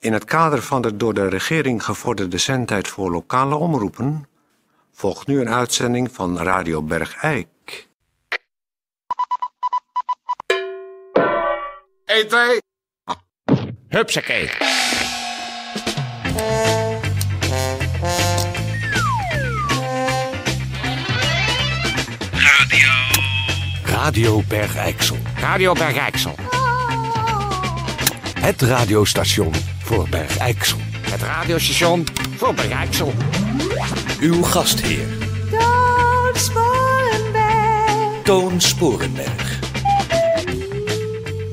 In het kader van de door de regering gevorderde zendtijd voor lokale omroepen volgt nu een uitzending van Radio Bergijk. 1, 2. Hupsakee. Radio Bergijksel. Radio Bergijksel. Het radiostation voor Bergijksel. Het radiostation voor Bergijksel. Uw gastheer Toon Sporenberg. Toon Sporenberg.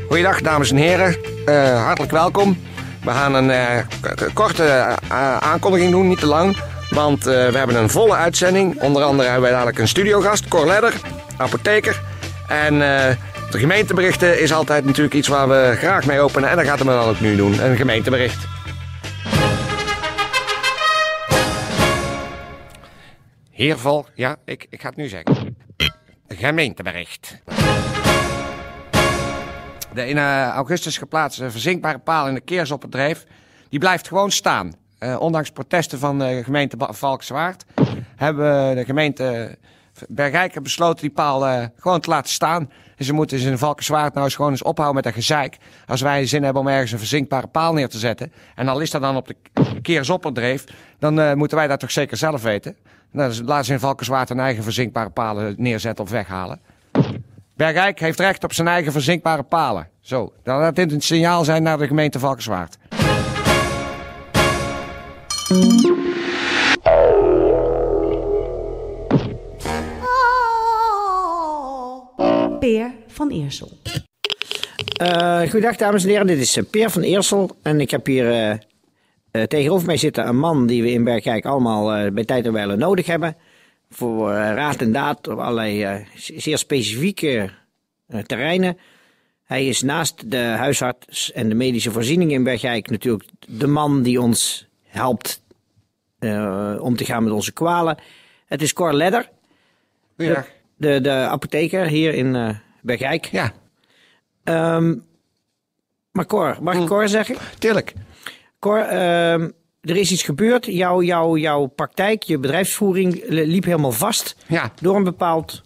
Goeiedag, dames en heren. Eh, hartelijk welkom. We gaan een eh, k- k- korte eh, aankondiging doen, niet te lang. Want eh, we hebben een volle uitzending. Onder andere hebben wij dadelijk een studiogast, Cor Ledder, apotheker. En eh, de gemeenteberichten is altijd natuurlijk iets waar we graag mee openen. En dat gaat hem dan ook nu doen, een gemeentebericht. Hiervol, ja, ik, ik ga het nu zeggen. Gemeentebericht. De in eh, augustus geplaatste verzinkbare paal in de Keersopbedrijf, die blijft gewoon staan. Eh, ondanks protesten van de gemeente Ba- Valkenswaard hebben de gemeente eh, Bergijker besloten die paal eh, gewoon te laten staan. En ze moeten ze in Valkenswaard nou eens gewoon eens ophouden met dat gezeik. Als wij zin hebben om ergens een verzinkbare paal neer te zetten, en al is dat dan op de Keersopperdreef, dan eh, moeten wij dat toch zeker zelf weten. Nou, dus laten ze in Valkenswaard hun eigen verzinkbare palen neerzetten of weghalen. Bergijk heeft recht op zijn eigen verzinkbare palen. Zo, dan laat dit een signaal zijn naar de gemeente Valkenswaard. Peer van Eersel. Eh goedendag dames en heren, dit is eh, Peer van Eersel en ik heb hier eh, eh, tegenover mij zitten een man die we in Bergijk allemaal eh, bij tijd en wijle nodig hebben. Voor eh, raad en daad op allerlei eh, z- zeer specifieke eh, terreinen. Hij is naast de huisarts en de medische voorziening in Bergijk natuurlijk de man die ons helpt eh, om te gaan met onze kwalen. Het is Cor Ledder, Goeiedag. de, de apotheker hier in eh, Bergijk. Ja, Ehm, maar Cor, mag ik Cor zeggen? tuurlijk. Cor, ehm, er is iets gebeurd. Jouw, jouw, jouw praktijk, je bedrijfsvoering li- liep helemaal vast Ja, door een bepaald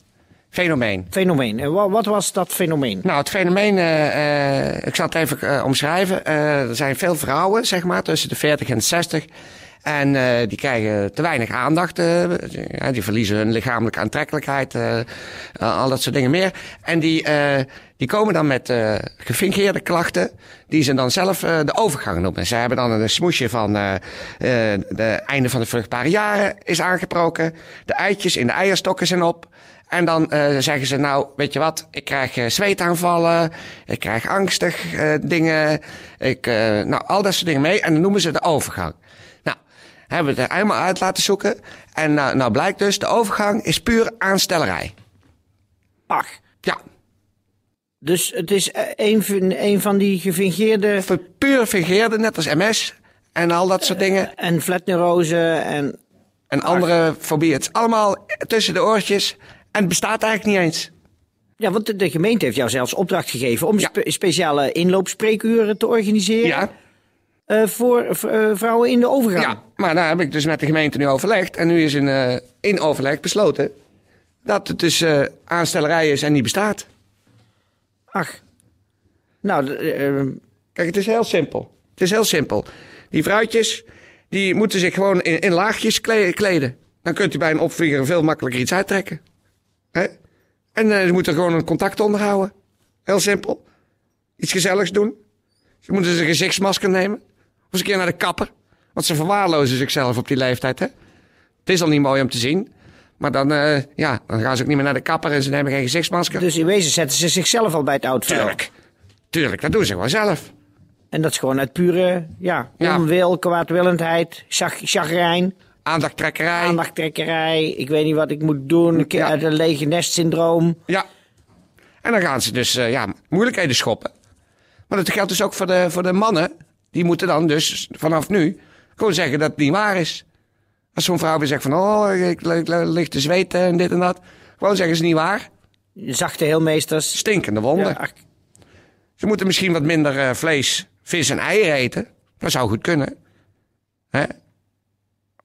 fenomeen. fenomeen. En wa- wat was dat fenomeen? Nou, het fenomeen, eh, eh, ik zal het even eh, omschrijven. Eh, er zijn veel vrouwen, zeg maar, tussen de 40 en de 60. En eh, die krijgen te weinig aandacht. eh, ja, die verliezen hun lichamelijke aantrekkelijkheid, eh, eh, al dat soort dingen meer. En die, eh, die komen dan met eh gefingeerde klachten, die ze dan zelf eh, de overgang noemen. Ze hebben dan een smoesje van eh eh, de einde van de vruchtbare jaren is aangebroken. De eitjes in de eierstokken zijn op. En dan eh, zeggen ze, nou, weet je wat, ik krijg eh, zweetaanvallen, ik krijg angstig eh, dingen, ik, eh, nou, al dat soort dingen mee. En dan noemen ze de overgang. Nou, hebben we het er helemaal uit laten zoeken. En nou, nou blijkt dus, de overgang is puur aanstellerij. Ach, Ja, dus het is eh, een, van- een van die gefingeerde pu- puur fingeerde, net als MS en al dat soort dingen. en flatneurose en... En andere fobieën. Het is allemaal tussen de oortjes en het bestaat eigenlijk niet eens. Ja, want de, de gemeente heeft jou zelfs opdracht gegeven om Ja. spe- speciale inloopspreekuren te organiseren Ja, eh, voor v- eh, vrouwen in de overgang. Ja, maar daar heb ik dus met de gemeente nu overlegd. En nu is in, eh, in overleg besloten dat het dus eh, aanstellerij is en niet bestaat. Ach, nou, d- eh, ehm, Kijk, het is heel simpel. Het is heel simpel. Die vrouwtjes, die moeten zich gewoon in, in laagjes kle- kleden. Dan kunt u bij een opvlieger veel makkelijker iets uittrekken. Hè? En eh, ze moeten gewoon een contact onderhouden. Heel simpel. Iets gezelligs doen. Ze moeten dus een gezichtsmasker nemen. Of eens een keer naar de kapper. Want ze verwaarlozen zichzelf op die leeftijd, hè. Het is al niet mooi om te zien. Maar dan, eh, ja, dan gaan ze ook niet meer naar de kapper en ze nemen geen gezichtsmasker. dus in wezen zetten ze zichzelf al bij het oud vuil. Tuurlijk. Tuurlijk, dat doen ze gewoon zelf. En dat is gewoon uit pure ja, Ja. onwil, kwaadwillendheid, chag- chagrijn, Aandachttrekkerij. aandachttrekkerij. Ik weet niet wat ik moet doen. Ik, Ja. Uit een lege nest syndroom. Ja. En dan gaan ze dus eh, ja, moeilijkheden schoppen. Maar dat geldt dus ook voor de, voor de mannen. Die moeten dan dus vanaf nu gewoon zeggen dat het niet waar is. Als zo'n vrouw weer zegt van, oh, ik, li- li- lig te zweten en dit en dat. Gewoon zeggen ze niet waar. Zachte heelmeesters. Stinkende wonden. Ja, ach, Ze moeten misschien wat minder eh, vlees, vis en eieren eten. Dat zou goed kunnen. Hè?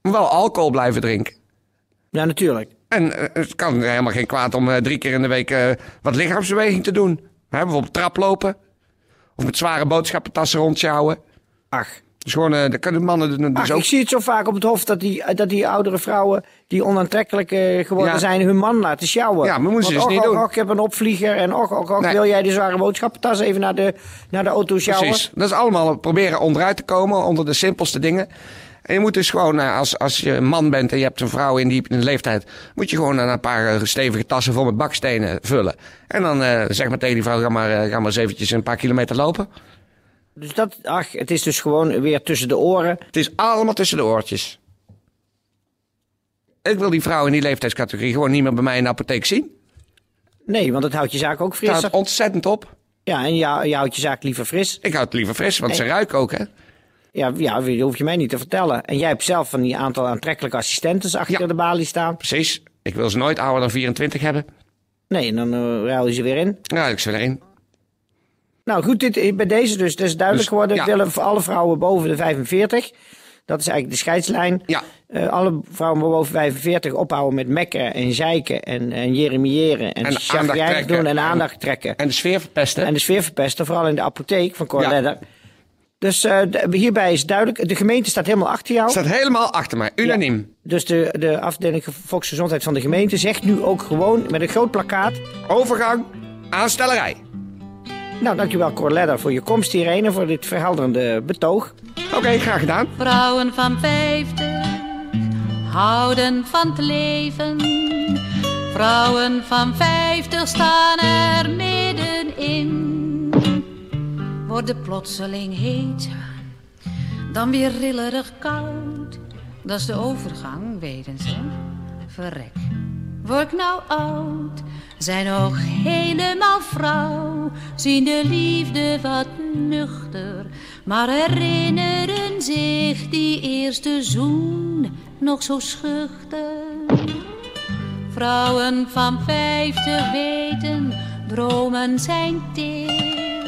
Maar wel alcohol blijven drinken. Ja, natuurlijk. En eh, het kan helemaal geen kwaad om eh, drie keer in de week eh, wat lichaamsbeweging te doen. Hè, bijvoorbeeld traplopen. Of met zware boodschappentassen rondjouwen. Ach, Dus gewoon, eh dat kunnen mannen doen. Ach, Dus ook. Ah, ik zie het zo vaak op het hof dat die, dat die oudere vrouwen die onaantrekkelijk eh, geworden Ja. zijn, hun man laten sjouwen. Ja, maar moeten ze Want dus och, niet och, doen. och, ik heb een opvlieger en och, och, och, Nee. wil jij de zware boodschappentas even naar de, naar de auto sjouwen? Precies. Dat is allemaal proberen onderuit te komen onder de simpelste dingen. En je moet dus gewoon, eh, als, als je een man bent en je hebt een vrouw in die in de leeftijd, moet je gewoon eh, een paar eh, stevige tassen vol met bakstenen vullen. En dan eh, zeg maar tegen die vrouw, ga maar, eh, ga maar eens eventjes een paar kilometer lopen. Dus dat, ach, het is dus gewoon weer tussen de oren. Het is allemaal tussen de oortjes. Ik wil die vrouw in die leeftijdscategorie gewoon niet meer bij mij in de apotheek zien. Nee, want het houdt je zaak ook Het fris. houdt ontzettend op. Ja, en ja, je houdt je zaak liever fris. Ik houd het liever fris, want ze ruiken ook, hè? Ja, ja, dat hoef je mij niet te vertellen. En jij hebt zelf van die aantal aantrekkelijke assistentes achter Ja. de balie staan. Precies. Ik wil ze nooit ouder dan 24 hebben. Nee, en dan eh, ruil je ze weer in. Nou, ik ze erin. Nou goed, dit, bij deze dus. Het is duidelijk Dus, geworden. ja. willen voor alle vrouwen boven de 45. Dat is eigenlijk de scheidslijn. Ja. Eh, alle vrouwen boven 45 ophouden met mekken en zeiken en, en jeremiëren. En, En aandacht chagrijnig trekken. doen en En- aandacht trekken. En de sfeer verpesten. En de sfeer verpesten, vooral in de apotheek van Cor Ja. Ledder. Dus eh, d- hierbij is duidelijk, de gemeente staat helemaal achter jou. staat helemaal achter mij, unaniem. Dus de, de afdeling volksgezondheid van de gemeente zegt nu ook gewoon met een groot plakkaat... Overgang, aanstellerij. Nou, dankjewel Cor Ledder voor je komst hierheen en voor dit verhelderende betoog. Oké, graag gedaan. Vrouwen van vijftig houden van het leven. Vrouwen van vijftig staan er middenin. Worden plotseling heet, dan weer rillerig koud. Dat is de overgang, weten ze. Verrek. Word ik nou oud, zijn nog helemaal vrouw, zien de liefde wat nuchter, maar herinneren zich die eerste zoen nog zo schuchter. Vrouwen van vijftig weten, dromen zijn teer.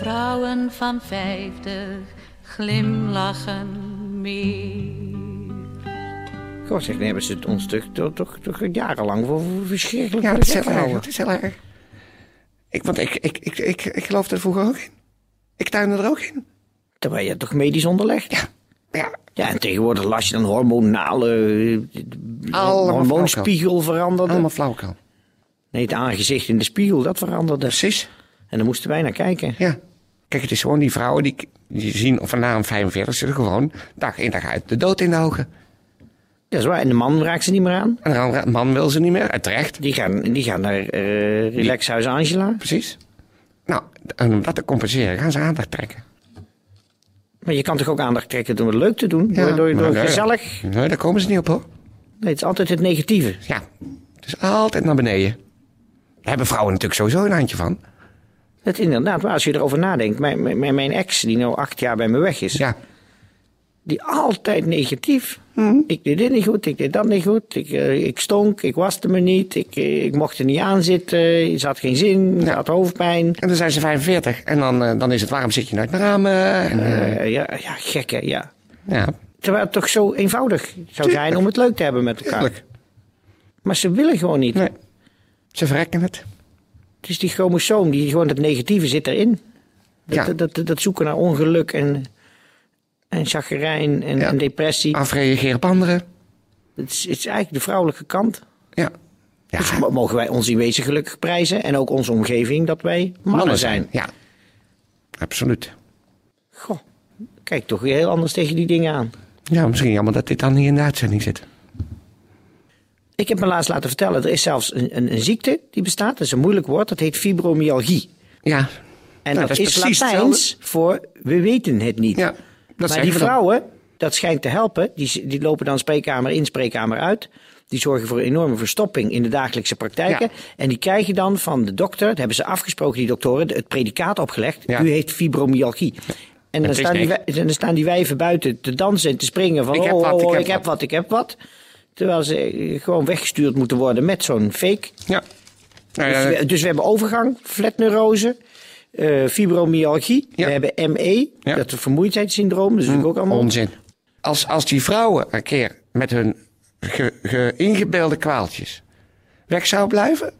Vrouwen van vijftig glimlachen meer. Goh, zeg, nee, hebben ze het ons toch, toch, toch, toch jarenlang voor voor verschrikkelijk Ja, voor dat de is gek heel erg. gehouden. Dat is heel erg. Ik, want ik, ik, ik, ik, ik geloofde er vroeger ook in. Ik tuinde er ook in. Terwijl je het toch medisch onderlegt? Ja. Ja, Ja, en tegenwoordig las je dan hormonale Allemaal hormoonspiegel veranderde. allemaal flauwekul. Nee, het aangezicht in de spiegel, dat veranderde. Precies. En daar moesten wij naar kijken. Ja. Kijk, het is gewoon die vrouwen die, die zien of na een 45 ze gewoon dag in dag uit de dood in de ogen. Dat is waar. En de man raakt ze niet meer aan. En de andere man wil ze niet meer, uit terecht. Die gaan, die gaan naar eh Relaxhuis Angela. Precies. Nou, en om dat te compenseren gaan ze aandacht trekken. Maar je kan toch ook aandacht trekken door het leuk te doen? door door, door Maar, eh, gezellig. Nee, daar komen ze niet op hoor. Dus Nee, het is altijd het negatieve. Ja, het is altijd naar beneden. Daar hebben vrouwen natuurlijk sowieso een handje van. Dat inderdaad, maar als je erover nadenkt. Mijn, mijn, mijn ex, die nu acht jaar bij me weg is. Dus Ja, die altijd negatief. Hmm. Ik deed dit niet goed, ik deed dat niet goed. Ik, eh, ik stonk, ik waste me niet, ik, eh, ik mocht er niet aan zitten. Ze had geen zin, ze Ja. had hoofdpijn. en dan zijn ze 45 en dan, eh, dan is het waarom zit je nooit meer aan me? En, eh, Eh, ja, ja, gek hè, ja. ja, Terwijl het toch zo eenvoudig zou zijn om het leuk te hebben met elkaar. tuurlijk. Maar ze willen gewoon niet. Nee, ze verrekken het. Het is die chromosoom, die gewoon het negatieve zit erin. Dat, Ja. dat, dat, dat zoeken naar ongeluk en, en chagrijn en, Ja. en depressie. Afreageren op anderen. Het is, het is eigenlijk de vrouwelijke kant. Ja. Ja, Dus mo- mogen wij ons in wezen gelukkig prijzen en ook onze omgeving dat wij mannen, zijn. Ja, absoluut. Goh, kijk toch weer heel anders tegen die dingen aan. Ja, misschien jammer dat dit dan niet in de uitzending zit. Ik heb me laatst laten vertellen, er is zelfs een, een, een ziekte die bestaat. Dat is een moeilijk woord, dat heet fibromyalgie. Ja. En Nou, dat, is, precies Latijns hetzelfde. voor we weten het niet. Ja, dat maar zeggen die we dan. vrouwen, dat schijnt te helpen. Die, die lopen dan spreekkamer in, spreekkamer uit. Die zorgen voor een enorme verstopping in de dagelijkse praktijken. Ja. En die krijgen dan van de dokter, dat hebben ze afgesproken, die doktoren, het predicaat opgelegd. Ja. U heeft fibromyalgie. En dan, Het is staan die, wij- niks. en dan staan die wijven buiten te dansen en te springen van Ik heb oh, wat, oh, ik oh, heb ik heb wat. wat, ik heb wat. Terwijl ze eh, gewoon weggestuurd moeten worden met zo'n fake Ja. Nou, dus ja, we, dus we hebben overgang, flatneurose. eh, fibromyalgie. Ja. We hebben ME, Ja. Hm. dat vermoeidheidssyndroom. Dat is natuurlijk ook allemaal Onzin. Als, als die vrouwen een keer met hun ge, ge- ingebeelde kwaaltjes weg zou blijven,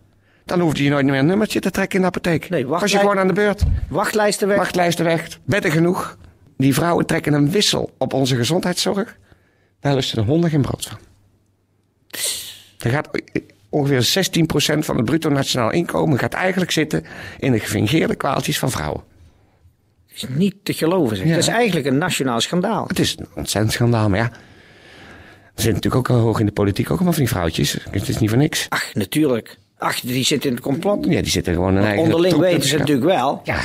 dan hoefde je nooit meer een nummertje te trekken in de apotheek. Nee, wacht- Was je gewoon aan de beurt. Wachtlijsten weg. Wachtlijsten weg, bedden genoeg. Die vrouwen trekken een wissel op onze gezondheidszorg. Daar lusten de honden geen brood van. Er gaat ongeveer 16% van het bruto nationaal inkomen gaat eigenlijk zitten in de gefingeerde kwaaltjes van vrouwen. is niet te geloven. Zeg. Ja. Dat is eigenlijk een nationaal schandaal. Het is een ontzettend schandaal, maar ja. Er zitten natuurlijk ook al hoog in de politiek ook allemaal van die vrouwtjes. Het is niet voor niks. Ach, natuurlijk. Ach, die zit in het complot. Ja, die zitten gewoon een eigen... Onderling troep weten ze te natuurlijk wel. Ja,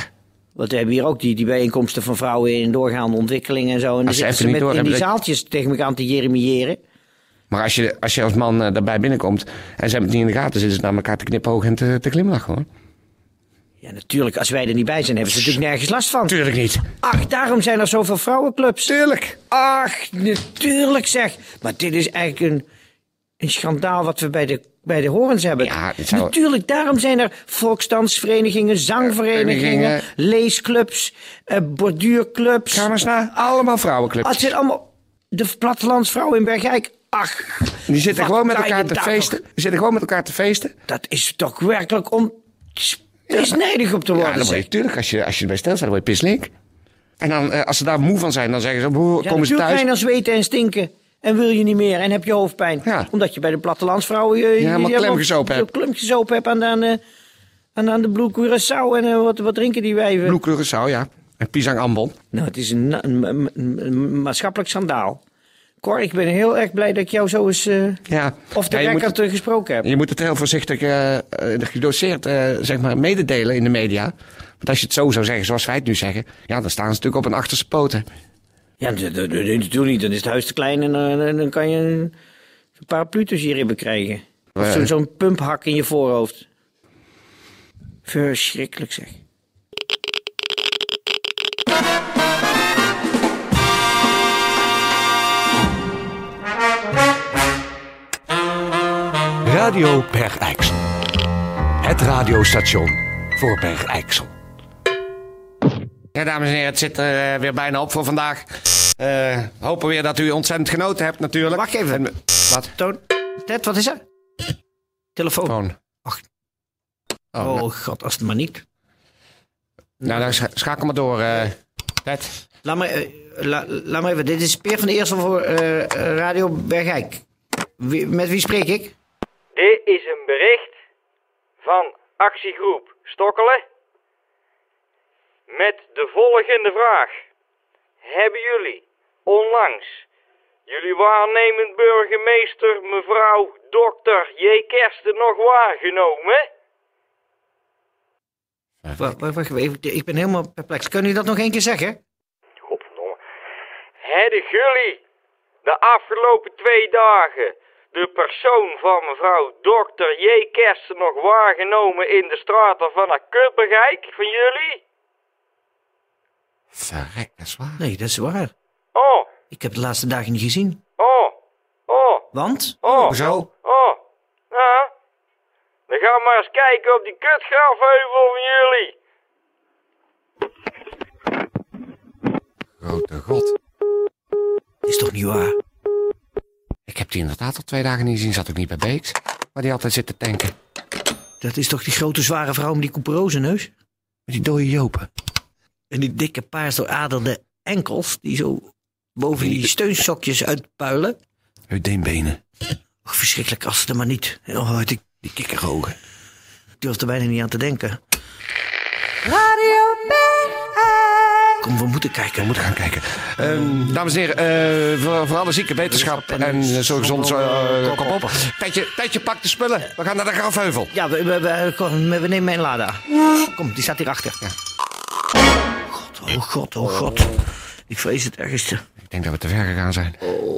Want we hebben hier ook die, die bijeenkomsten van vrouwen in doorgaande ontwikkeling en zo. En dan Als ze zitten even ze niet met, in doorhebben die dat- zaaltjes tegen elkaar aan te jeremiëren. maar als je als, je als man eh, daarbij binnenkomt en ze hebben het niet in de gaten, zitten ze naar elkaar te knipoog en te, te glimlachen, hoor. Ja, natuurlijk. Als wij er niet bij zijn, hebben ze natuurlijk nergens last van. Tuurlijk niet. Ach, daarom zijn er zoveel vrouwenclubs. Tuurlijk. Ach, natuurlijk zeg. Maar dit is eigenlijk een, een schandaal wat we bij de, bij de horens hebben. Ja, het zou- Natuurlijk, daarom zijn er volksdansverenigingen, zangverenigingen, Verenigingen. leesclubs, eh, borduurclubs. Ga maar eens naar allemaal vrouwenclubs. Ah, het zijn allemaal de plattelandsvrouwen in Bergijk. Ach, Die zitten wat gewoon met kan je elkaar te daar feesten. Die zitten gewoon met elkaar te feesten. Nou, nog- Dat is toch werkelijk om te snijdig op te Ja, worden. dan word zeg. je, tuurlijk, als je, als je erbij stilstaat, dan word je pislink. En dan, eh, als ze daar moe van zijn, dan zeggen ze, "Boe, Ja, komen ze natuurlijk thuis. ga je dan zweten en stinken. En wil je niet meer en heb je hoofdpijn. Ja. Omdat je bij de plattelandsvrouwen... eh, Je, helemaal klemgezopen hebt. Klemgezopen hebt aan de, aan de, aan, aan de Blue Curaçao. En eh, wat, wat drinken die wijven? Bloedkleuren zou, ja. En pisang ambon. Nou, het is een, na- een- een- een- een maatschappelijk schandaal. Cor, ik ben heel erg blij dat ik jou zo eens... eh Ja. Of de Ja, je moet record eh, gesproken heb. Je moet het heel voorzichtig, eh, eh, gedoseerd, eh, zeg maar, mededelen in de media. Want als je het zo zou zeggen, zoals wij het nu zeggen, ja, dan staan ze natuurlijk op hun achterste poten. Ja, dat dat- dat- dat doe niet. Dan is het huis te klein en eh, dan, dan kan je een, een paraplu tussen je ribben krijgen. Of Eh. zo- zo'n pumphak in je voorhoofd. Verschrikkelijk zeg. Radio Bergijksel. Het radiostation voor Bergijksel. Ja, dames en heren, het zit er eh, weer bijna op voor vandaag. Eh, hopen weer dat u ontzettend genoten hebt, natuurlijk. Wacht even. En- wat? Toon, Ted, wat is er? Telefoon. Gewoon. Ach. Oh, Oh, nou- god, als het maar niet. nou, dan scha- schakel maar door, eh Ted. Laat maar, eh, la- laat maar even, dit is Peer van de Eerste voor eh, Radio Bergijk. Wie- met wie spreek ik? Dit is een bericht van actiegroep Stokkelen met de volgende vraag. Hebben jullie onlangs jullie waarnemend burgemeester mevrouw Dr. J. Kersten nog waargenomen? Wacht, wacht, wacht even, ik ben helemaal perplex. Kunnen jullie dat nog één keer zeggen? Godverdomme. Hebben jullie de afgelopen twee dagen de persoon van mevrouw Dr. J. Kersten nog waargenomen in de straten van haar Kuppengeik van jullie? Verrek, dat is waar. Nee, dat is waar. Oh, Ik heb de laatste dagen niet gezien. oh, oh, Want? oh. Zo. Oh, nou. Dan gaan we maar eens kijken op die kutgrafheuvel van jullie. Grote god. Is toch niet waar? Ik heb die inderdaad al twee dagen niet gezien. Zat ook niet bij Beeks. Maar die altijd zit te tanken. Dat is toch die grote zware vrouw met die couperose neus? Met die dode Jopen. En die dikke paars dooraderde enkels die zo boven die steunsokjes uitpuilen. Uit deenbenen. Och, verschrikkelijk als het er maar niet. Oh, die, die kikkerogen. Ik durf er bijna niet aan te denken. Radio Bergijk. Kom, we moeten kijken. We moeten gaan kijken. Ehm, dames en heren, eh, voor, voor alle zieken, wetenschap en eh, zo gezond eh, kop op. Tijdje, tijdje, pak de spullen. We gaan naar de grafheuvel. Ja, we, we, we, kom, we- we nemen mijn lada. Kom, die staat hierachter. Ja. God, oh god, oh god. Ik vrees het ergste. Ik denk dat we te ver gegaan zijn.